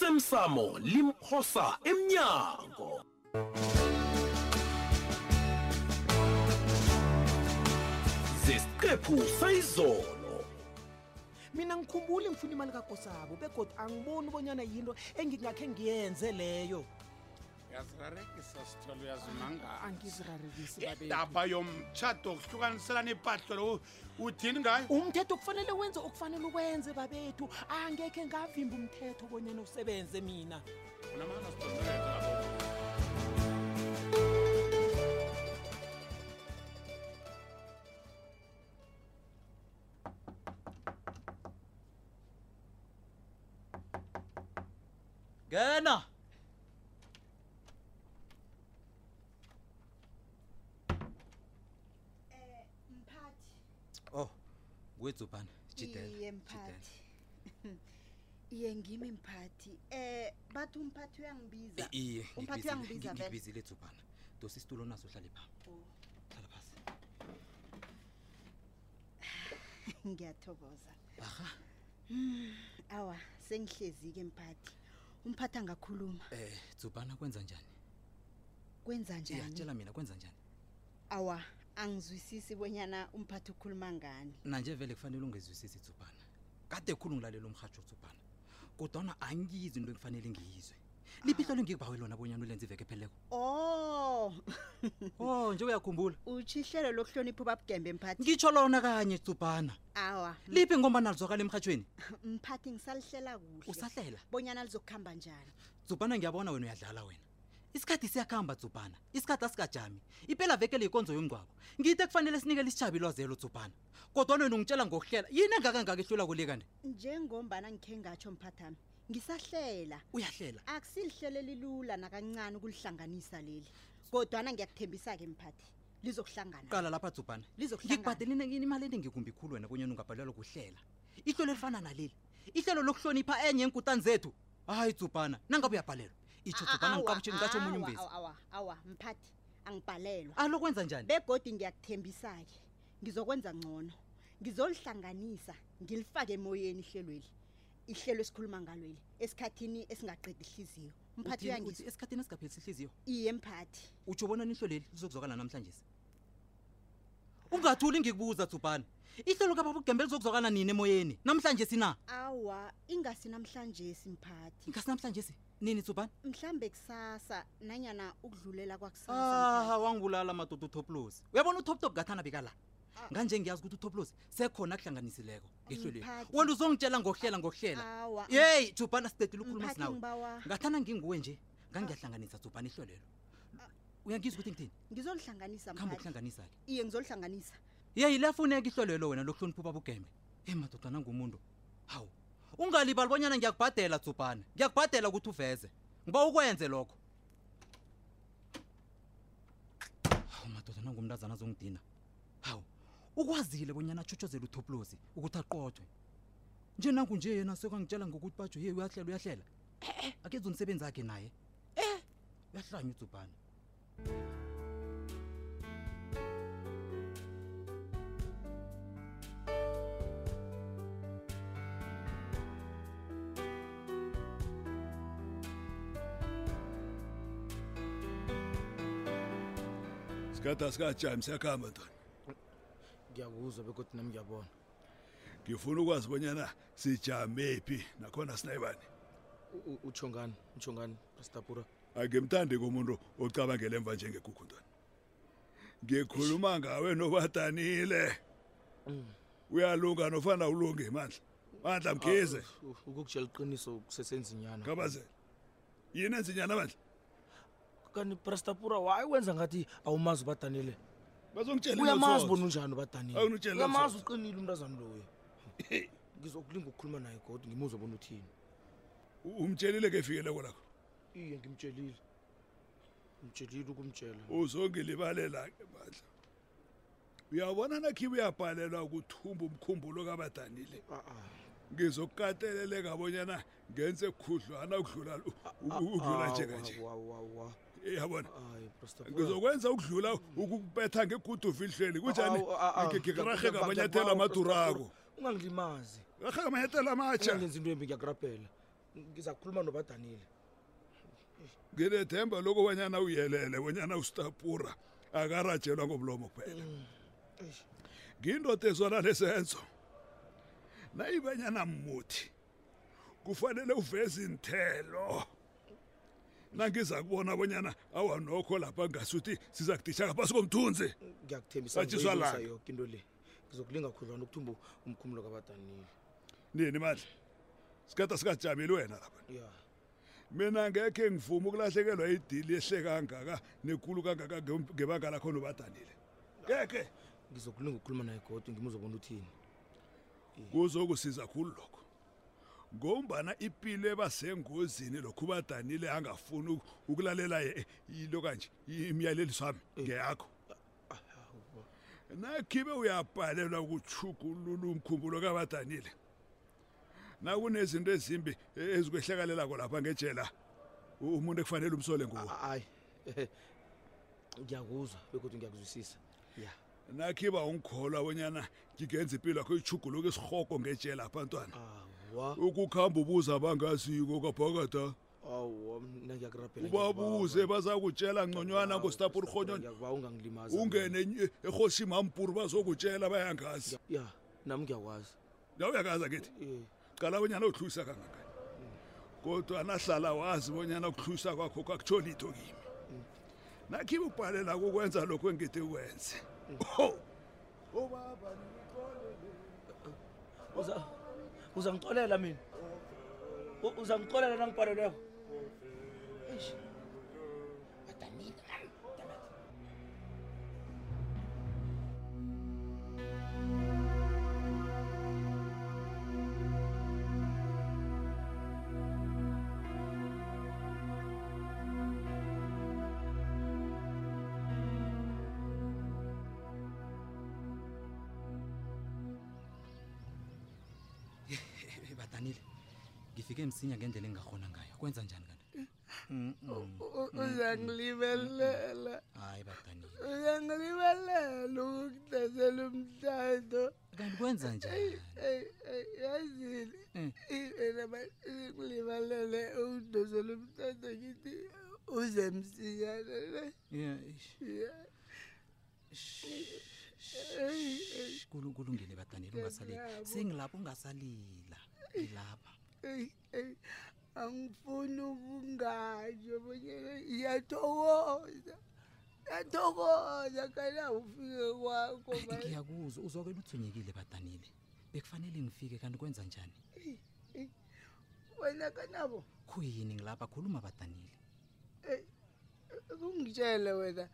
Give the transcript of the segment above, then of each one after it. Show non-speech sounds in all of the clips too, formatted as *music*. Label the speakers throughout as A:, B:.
A: osemsamo limphosa emnyango zesiqephu sayizolo
B: mina ngikhumbuli ngifuna imali kagosabo begodi angiboni ubonyana yinto engingakhe ngiyenze leyo
C: uyazirarekisa sithole uyazimangala
B: angizirarekisi
D: Eh,
C: indaba yomtshato kuhlukaniselana impahlo lo uthini ngayo
B: umthetho kufanele wenze okufanele ukwenze babethu angekhe ngavimba umthetho bonyana usebenze mina
C: Unamanga sithole uyazimangala.
E: ngena
F: mphathi
E: oh kwedzubhane
F: iye mphathi *laughs* iye ngimi mphathi eh bathi umphathi uyangibiza
E: Eh, iye
F: umphathi uyangibiza vele Oh.
E: ngibizile dzubhana dosa isitulo naso uhlale pha hlala phasi
F: *laughs* ngiyathokoza Hmm,
E: aha
F: awa sengihlezi-ke mphathi umphathi angakhuluma
E: eh dzubhana kwenza njani
F: kwenza njani
E: iyatshela mina kwenza njani
F: awa angizwisisi bonyana umphathi ukhuluma ngani
E: nanje vele kufanele ungezwisisi dzubhana kade khulu ngilalela umhatsho dzubhana kodwana angiyizwi into ekufanele ngiyizwe
F: Ah.
E: liphihlo lengikubawe lona bonyana ulenze iveke pheleko
F: *laughs* o
E: oh nje uyakhumbula
F: utsho ihlelo lokuhlonipha ubabugembe mphathi
E: ngitsho lona kanye dzubhana
F: Hmm. awa
E: liphi ngombana lizwakala emhathweni
F: mphathi ngisalihlela kuhle
E: usahlela
F: bonyana lizokuhamba njani
E: dzubhana ngiyabona wena uyadlala wena isikhathi siyakuhamba dzubhana isikhathi asikajami impela vekele yikonzo yomngcwabo ngite kufanele sinikele isitshabi lwazelo dzubhana kodwa wena ungitshela ngokuhlela yini engakangaka ehlula kule kanti
F: njengombana ngikhe ngatsho mphathami ngisahlela
E: uyahlela
F: akusilihleleli lula nakancane ukulihlanganisa leli kodwana ngiyakuthembisa-ke mphathi lizokuhlangana
E: qala lapha dzubhana
F: Lizokuhlangana.
E: ngikubhadeline kini imali eningigumbi khulu wena bonyana ungabhalelwa kuhlela ihlelo elifana naleli ihlelo lokuhlonipha enye enkutani zethu hayi dzubhana nangabe uyabhalelwa itsho dzubhana ngiqabutsheni ngatsho omunye umbezi
F: awa mphathi angibhalelwa
E: alokwenza njani
F: begodi ngiyakuthembisa-ke ngizokwenza ngcono ngizolihlanganisa ngilifake emoyeni ihlelweli ihlelo esikhuluma ngalweli esikhathini esingaqedi ihliziyo mphathi
E: Uthini uthi
F: uyangizwa
E: esikhathini esigaphelisa ihliziyo
F: iye mphathi
E: utsho bona nihloleli lizokuzwakala namhlanje ungathuli ngikubuza tsubhane ihlelo kababugembe lizokuzwakala nini emoyeni namhlanje sina
F: awa ingasi namhlanje simphathi
E: ingasi namhlanje si nini tsubhane
F: mhlambe kusasa nanyana ukudlulela kwakusasa mphathi.
E: ah wangibulala madoda utoplos uyabona utoptop ngathana bekala nganje ngiyazi ukuthi utoplos sekhona kuhlanganisileko ehlelweni
F: Mphathi.
E: wena uzongitshela ngokuhlela ngokuhlela
F: Awa.
E: yeyi tsubhana sidedile ukhuluma
F: Mphathi,
E: sinawe
F: ngibawa-
E: ngathana nginguwe nje ngangiyahlanganisa tsubhane ihlelelo Ah. uyangizwa ukuthi ngithini
F: ngizolihlanganisa
E: khambe
F: mphathi
E: ukuhlanganisa-ke
F: iye ngizolihlanganisa
E: yeyi liyafuneka ihlolelo wena lokuhlonipha ubabugembe e madoda nangumuntu hawu ungalibali bonyana ngiyakubhadela tsubhane ngiyakubhadela ukuthi uveze ngiba ukwenze lokho hawu madoda nangumntazana azongidina hawu ukwazile bonyana atshutshozele uthoplozi ukuthi aqothwe nje nangunje yena sekangitshela ngokuthi batsho ye uyahlela uyahlela e-e akenza umsebenzi akhe naye e uyahlanya utsubhane
G: sikade asikajami siyakuhamba ntoni
D: ngiyakuzwa bekodwa nami ngiyabona
G: ngifuna ukwazi bonyana sijame phi nakhona sinayibani
D: U- u- utsho ngani utsho ngani pastapura
G: angimthandi komuntu ocabangela emva njengekukhu ntoni ngikhuluma ngawe nobadanile uyalunga nofana ulungi mandla mandla mkhize
D: ah. ukukutshela iqiniso kusesenzinyana
G: khabazela yini enzinyana mandla
D: kanti prastapura wayi wenza ngathi awumazi ubadanile
G: bazongitshela
D: uyamazi bona unjani ubadanile
G: Awungitsheli lezo
D: uyamazi
G: zodwa.
D: uqinile umntazana loyo ngizokulinga ukukhuluma naye godwa ngimuzwe bona uthini
G: umtshelile ke efikeleko lakho
D: iye ngimtshelile ngimtshelile ukumtshela
G: uzongilibalela ke mandla uyabona nakhibe uyabhalelwa ukuthumba umkhumbulo kabadanile
D: Ah,
G: ngizokukateleleka bonyana ngenze khudlwana ukudlula ukudlula
D: ah,
G: njeka nje
D: wa- wa- wa- wa.
G: yabona
D: Hayi, Prastapura.
G: ngizokwenza ukudlula ukukubetha ngegudova ihlweni kunjani
D: Awu, a- a-
G: ngirarheka
D: ngiyakubamba,
G: amanyathelo
D: ngiyakubamba,
G: amadurako
D: Prastapura. ungangilimazi
G: rarheka amanyathelo amatsha
D: ungangenzi into embi ngiyakurabhela ngiza kukhuluma nobadanile
G: nginethemba lokho bonyana uyelele bonyana ustapura akaratshelwa ngobulomo kuphela ngindoda ezwana lesenzo nayibanyana muthi kufanele uveze inthelo nangiza kubona bonyana awanokho lapha ngasuthi siza kudisha ngaphasi komthunzi
D: ngiyakuthembisa
G: Satjhiswa
D: ngizoyilungisa
G: langa.
D: yoke into le ngizokulinga khudlwana ukuthumba umkhumulo kabadanile
G: nini madla sikata sikajameli wena lapha
D: ya
G: mina ngekhe ngivume ukulahlekelwa idili ehle kangaka nekulu kangaka nge- ngebanga lakho nobadanile ngekhe
D: ngizokulinga ukukhuluma naye godwa ngimuzobona uthini
G: kuzokusiza khulu lokho ngombana ipilo ebasengozini lokhu badanile angafuni uk- ukulalela ye- yilo kanje i- imiyaleliswami
D: Eh.
G: ngeyakho nakhibe uyabhalelwa ukuchugulula umkhumbulo kabadanile nakunezinto ezimbi e- ezikwehlakalelako lapha ngejela u- umuntu ekufanele umsole nguwo
D: hayi *laughs* ngiyakuzwa begodwa ngiyakuzwisisa ya
G: nakhiba ungikholwa bonyana ngingenza impilo yakho ichuguluka isihogo ngejela phantwana
D: awa
G: ukukhamba ubuza abangaziko kwaphakada
D: awa mna ngiyakurabhela
G: ubabuze bazakutshela ngconywana ngostapur rhonyon
D: ngiyakuba ungangilimazi
G: ungene enye- ehoshi mampuru bazokutshela bayangazi
D: ya nami ngiyakwazi
G: nawuyakaza kithi
D: Eh,
G: qala bonyana uhlwisa kangangani kodwa nahlala wazi bonyana ukuhlwisa kwakho kwakutsho litho kimi nakhibe ubhalela kukwenza lokhu engithi ukwenze ho obaba
H: uza uzangixolela mina U- uzangixolela nangibhalelweko
E: Eh, badanile ngifike msinya ngendlela engingakhona ngayo kwenza njani kanti
I: Uyangilibelela,
E: hayi badanile
I: uyangilibelela ukudazela umtando.
E: kanti kwenza njani
I: Ey, ey, yazini.
E: Mm.
I: Ilema ngilibalele ukudazela umtando ngithi uzemsiyana le.
E: Ya, ish, ish, ish, kulu- kulungile badanile ungasalila
I: Ngiyakuyabo.
E: sengilapha ungasalila ngilapha
I: Ey, ey. Angifuni ukungajo bonyana iyathokoza. Yathokoza kana ufike kwakho
E: Ayi,
I: manje.
E: ngiyakuzwa uzwakwela uthunyekile badanile bekufanele ngifike kanti kwenza njani
I: Wena kanabo.
E: khuyini ngilapha khuluma badanile
I: kungitshele wena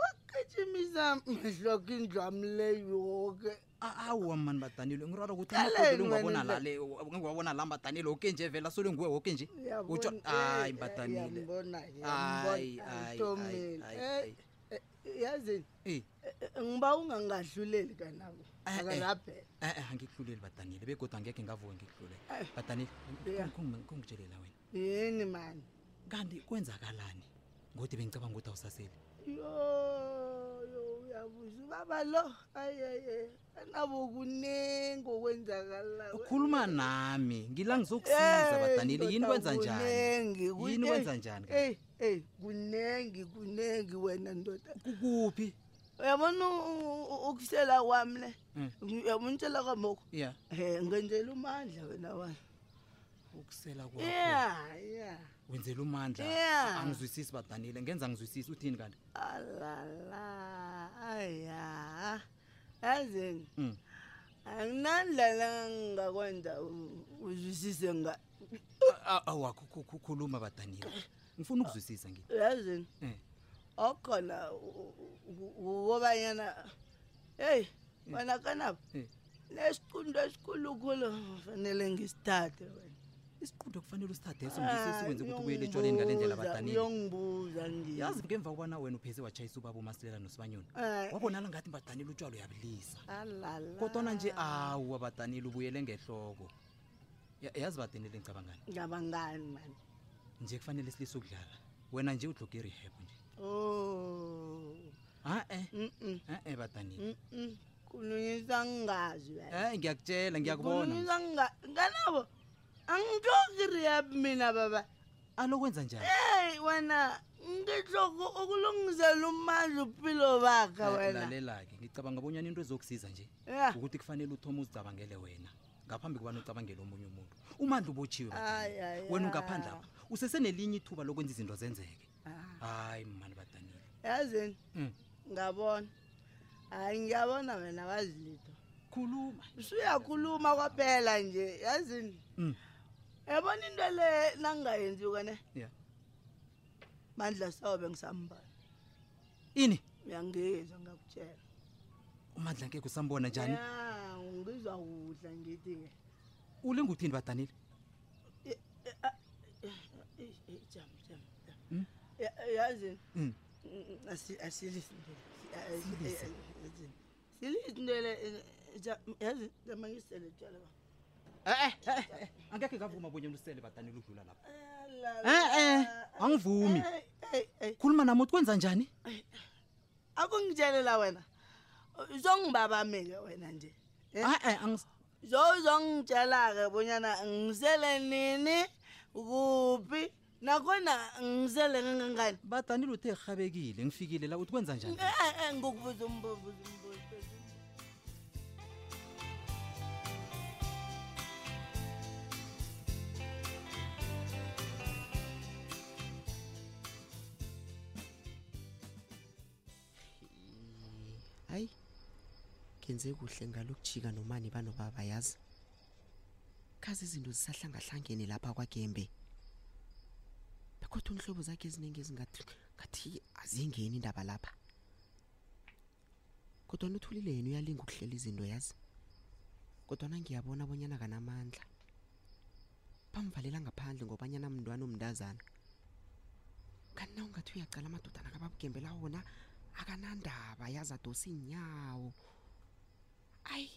I: wagijimisa mehloko indlwami le yoke
E: awa mani badanile ngirara ukuthi
I: Qaleni
E: amaqobelo
I: wena
E: ngiwabona
I: indaba.
E: lale ngiwabona la badanile oke nje vela sole nguwe woke nje Utsho-
I: Eh,
E: hayi badanile Ayi, ayi, ayi,
I: Eh,
E: ayi, ayi.
I: yazini
E: Eh,
I: ngiba ungangahluleli kanabo
E: Eh, eh.
I: akaraphela
E: eh, eh, angikuhluleli badanile begoda angekhe ngavuka ngikuhlulele
I: Ayi.
E: badanile
I: Ya.
E: kungitshelela wena
I: yini mani
E: kanti kwenzakalani ngodi bengicabanga ukuthi awusaseli
I: yo yo uyabuza ubaba lo ayeye anabo kuningi okwenzakalayo
E: ukhuluma nami ngila ngizokusiza badanile yini kwenza njani
I: kunengi
E: Yini kwenza njani kanti?
I: eyi eyi kunengi kunengi wena ndoda
E: kukuphi
I: uyabona u- u- ukutshela kwami le
E: Mm.
I: uyabona utshela kwamoko
E: ya
I: um ngenzela umandla wena wami
E: ukusela kwakho
I: ya ya
E: wenzela umandla
I: Yeah.
E: angizwisisi badanile ngenza ngizwisisi uthini kanti
I: alala aya yazini
E: Mm.
I: anginandlela ngingakwenza u- uzwisise nga
E: awakho khuluma badanile ngifuna ukuzwisisa ngithi
I: yazini
E: Eh.
I: okhona u- u- ukobanyana heyi wena kanabo
E: Eh.
I: nesiqundo esikhulukhulu fanele ngisithathe wena Ah,
E: isiqundo kufanele usithatheso ngisesikwenze ukuthi ubuyele etshoneni ngale ndlela badanile
I: uyongibuza nje
E: yazi ngemva kobana wena upheze watshayisa ubaba umasilela nosibanyoni
I: Eh,
E: wabonala ngathi badanile utshwalo uyabilisa kodwana nje awu abadanile ubuyele ngehloko Ya- yazi badanile ngicabangani
I: ngabangani mani
E: nje kufanele silise ukudlala wena nje udloge irehab nje
I: o
E: a-e e-e badanile
I: kulunyisa ngingazi wena
E: Eh ngiyakutshela ngiyakubona
I: Kukhulunyiswa nginga- nganabo angitokiri yapi mina baba
E: alokwenza njani
I: eyi wena ngihloko ukulungisela umandla umpilo bakha
E: Eh,
I: wena
E: lalela-ke ngicabanga bonyana into ezokusiza nje
I: Ya.
E: ukuthi kufanele uthoma uzicabangele wena ngaphambi kobana ucabangele omunye umuntu umandla ubotshiwe
I: Ay, ay,
E: wena
I: ay.
E: ungaphandla apha usesenelinye ithuba lokwenza izinto zenzeke hayi mani badanile
I: yazini
E: Mm.
I: ngabona hhayi ngiyabona wena wazi lito
E: khuluma
I: usuyakhuluma kwaphela nje yazini
E: Mm.
I: yabona into le nangingayenziwa ne
E: ya
I: mandla sobe ngisambona
E: ini
I: uyangizwa ngakutshela
E: umandla ngeke usambona njani
I: ya ngizwa kudla ngithi-ke
E: ulinga uthini badanile
I: Eyi, eyi, jama jama
E: Mm.
I: jama Ya- yazini
E: Mm.
I: Mm, asi- asilisi into le. A- a- a- a- yazini. silisi into le eh, ja- yazini jama ngisele tshela ba
E: angekhe ngavuma bonyana usele badanile udlula lapha
I: Eh,
E: Eh, eh,
I: eh.
E: angivumi.
I: Eh, eh, eh.
E: khuluma nami uthi kwenza njani
I: akungitshelela wena uzongibabameke wena nje Eh.
E: a-e angis
I: zozongitshela-ke bonyana ngisele nini kuphi nakhona ngisele kangangani
E: badanile uthe erhabekile ngifikile la uthi kwenza njani
I: Eh, eh, eh, ngikubuza umbuzo umbuzo umbuzo.
J: hayi ngenze kuhle ngalokujika nomani banobaba yazi khazi izinto zisahlangahlangene lapha kwagembe bekodwa unhlobo zakhe eziningi ezingathi ngathi azingeni indaba lapha kodwana uthulile yena uyalinga ukuhlela izinto yazi kodwana ngiyabona bonyana kanamandla bamvalela ngaphandle ngobanyana mntwana omndazana kanti na ungathi uyacala amadodana kababugembela wona akanandaba yazi adosa iinyawo ayi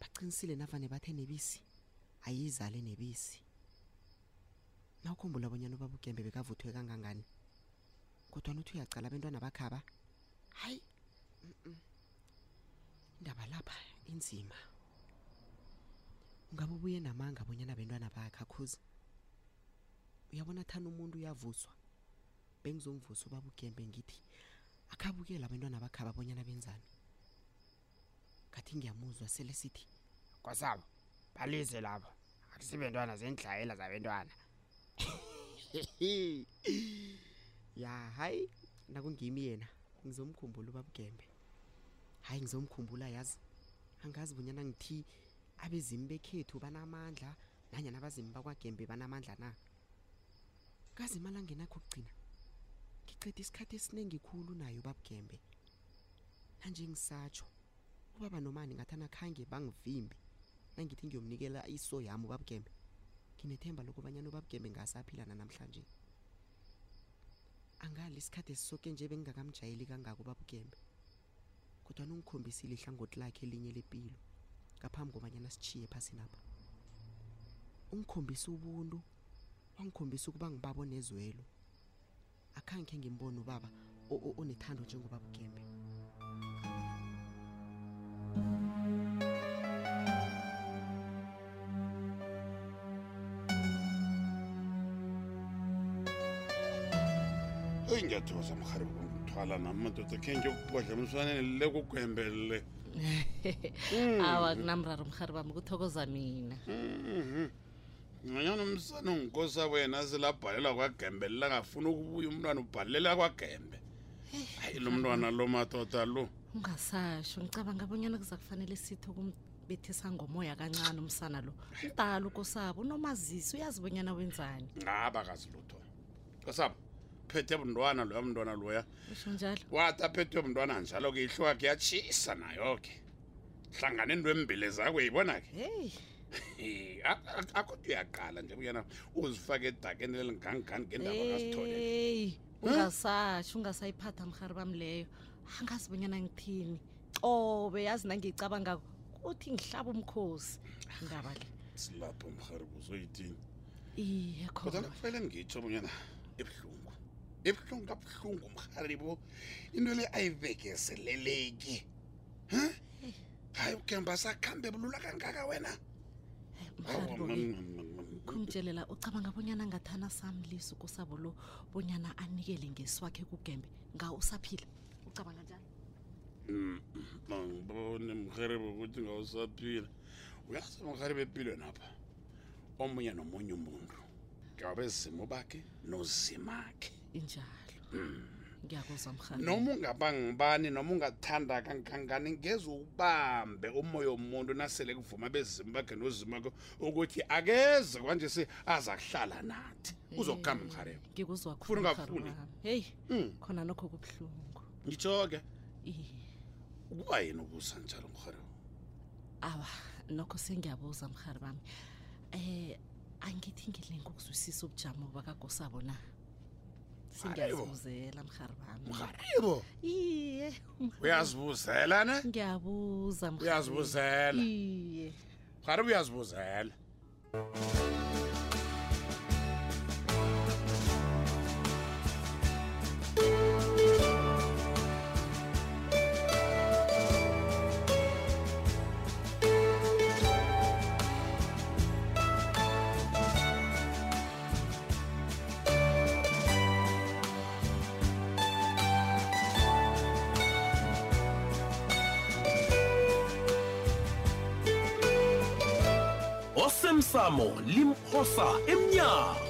J: baqinisile navane bathe nebisi ayizale nebisi nawukhumbula abonyana ubabugembe bekavuthwe kangangani kodwana uthi uyacala abentwana bakhaba hayi mm-mm. indaba lapha inzima ungabe ubuye namanga abonyana bentwana bakhe akhuzi uyabona thana umuntu uyavuswa bengizomvusa ubabugembe ngithi akhabukela abantwana bakhaba abonyana benzani ngathi ngiyamuzwa sele sithi
K: kwasabo balise lapha akusibentwana zendlayela zabentwana
J: *laughs* ya hayi nakungimi yena ngizomkhumbula ubabugembe hayi ngizomkhumbula yazi angazi bonyana ngithi abezimi bekhethu banamandla nanyana abazimi bakwagembe banamandla na kazi imali angenakho kugcina ngichitha isikhathi esiningi khulu nayo ubabugembe nanje ngisatsho ubaba nomani ngathi anakhange bangivimbi nangithi ngiyomnikela iso yami ubabugembe nginethemba lokubanyana ubabugembe ngasaphila nanamhlanje angali isikhathi esisoke nje bengingakamjayeli kangako ubabugembe kodwana ungikhombisile ihlangothi lakhe elinye lempilo ngaphambi kobanyana sitshiye phasinapha ungikhombisa ubuntu wangikhombisa ukuba ngibabo nezwelo akhange ngimbone ubaba o- o- onethando njengobabugembe
C: eyi ngiyathokoza mharibo ngithwala nami madoda khe ngiyokubodlamswane lekugwembelele
L: awa kunamraro mhari bami kuthokoza mina
C: Mhm. nganyana umsana ungukosi abo yena selabhalela kwagembelela ngafuna ukubuya umntwana ubhalela kwagembe hayi lo mntwana lo madoda lo
L: ungasasho ngicabanga abonyana kuza kufanele sithi ukumbethisa ngomoya kancane umsana lo mdala ukosabo unomazisi uyazi bonyana wenzani
C: ngaba kazi lutho kosabo phethe buntwana loya mntwana loya
L: usho njalo
C: wathi aphethwe mntwana njalo ke ihlo yakhe yatshisa nayo ke hlangane into embile zakho yibona ke
L: heyi
C: akhoda uyaqala nje buyena uzifake edakeni elingangani ngendaba kasithole
L: heyi ungasasho ungasayiphatha mhari bami leyo angazi bonyana ngithini cobe yazi nangiyicabangako kuthi ngihlaba umkhosi indaba le
C: silapho mharibo uzoyithini
L: iye khona
C: kodwana kufanele ngitsho bonyana ebuhlungu ebuhlungu kabuhlungu mharibo into le ayivekezeleleki Huh? hayi ugemba sakhambe bulula kangaka wena Awa, mm,
L: mharibo
C: mam, mam, mam, mam,
L: khumtshelela ucabanga bonyana ngathana samlisa kusabo lo bonyana anikele ngesiwakhe kugembe ngawo usaphila ucabanga njani
C: mm, angibone mrherebe ukuthi ngawusaphila uyazi mrherebe empilweni apha omunye nomunye umuntu ngabezimo bakhe nozimakhe
L: injalo ngiyakuzwa mhani
C: noma ungaba ngibani noma ungathanda kangangani ngeze ubambe umoya womuntu nasele kuvuma bezimu bakhe nozimakhe ukuthi akeze kwanje se aza kuhlala nathi uzokukhamba mrherebe
L: ngikuzwa
C: Funa ungafuni. Hmm,
L: heyi khona nokho kubuhlungu
C: ngitsho-ke
L: Iye.
C: kuba yini ubusa njalo mrherebe
L: awa nokho sengiyabuza mhari bami um angithi ngilinga ukuzwisisa ubujamo bakagosabo na sengiyazibuzela mhari bami
C: mrherebo
L: iye
C: uyazibuzela ne
L: ngiyabuza
C: uyazibuzela
L: iye
C: mrherebe uyazibuzela
A: osemsamo limphosa emnyango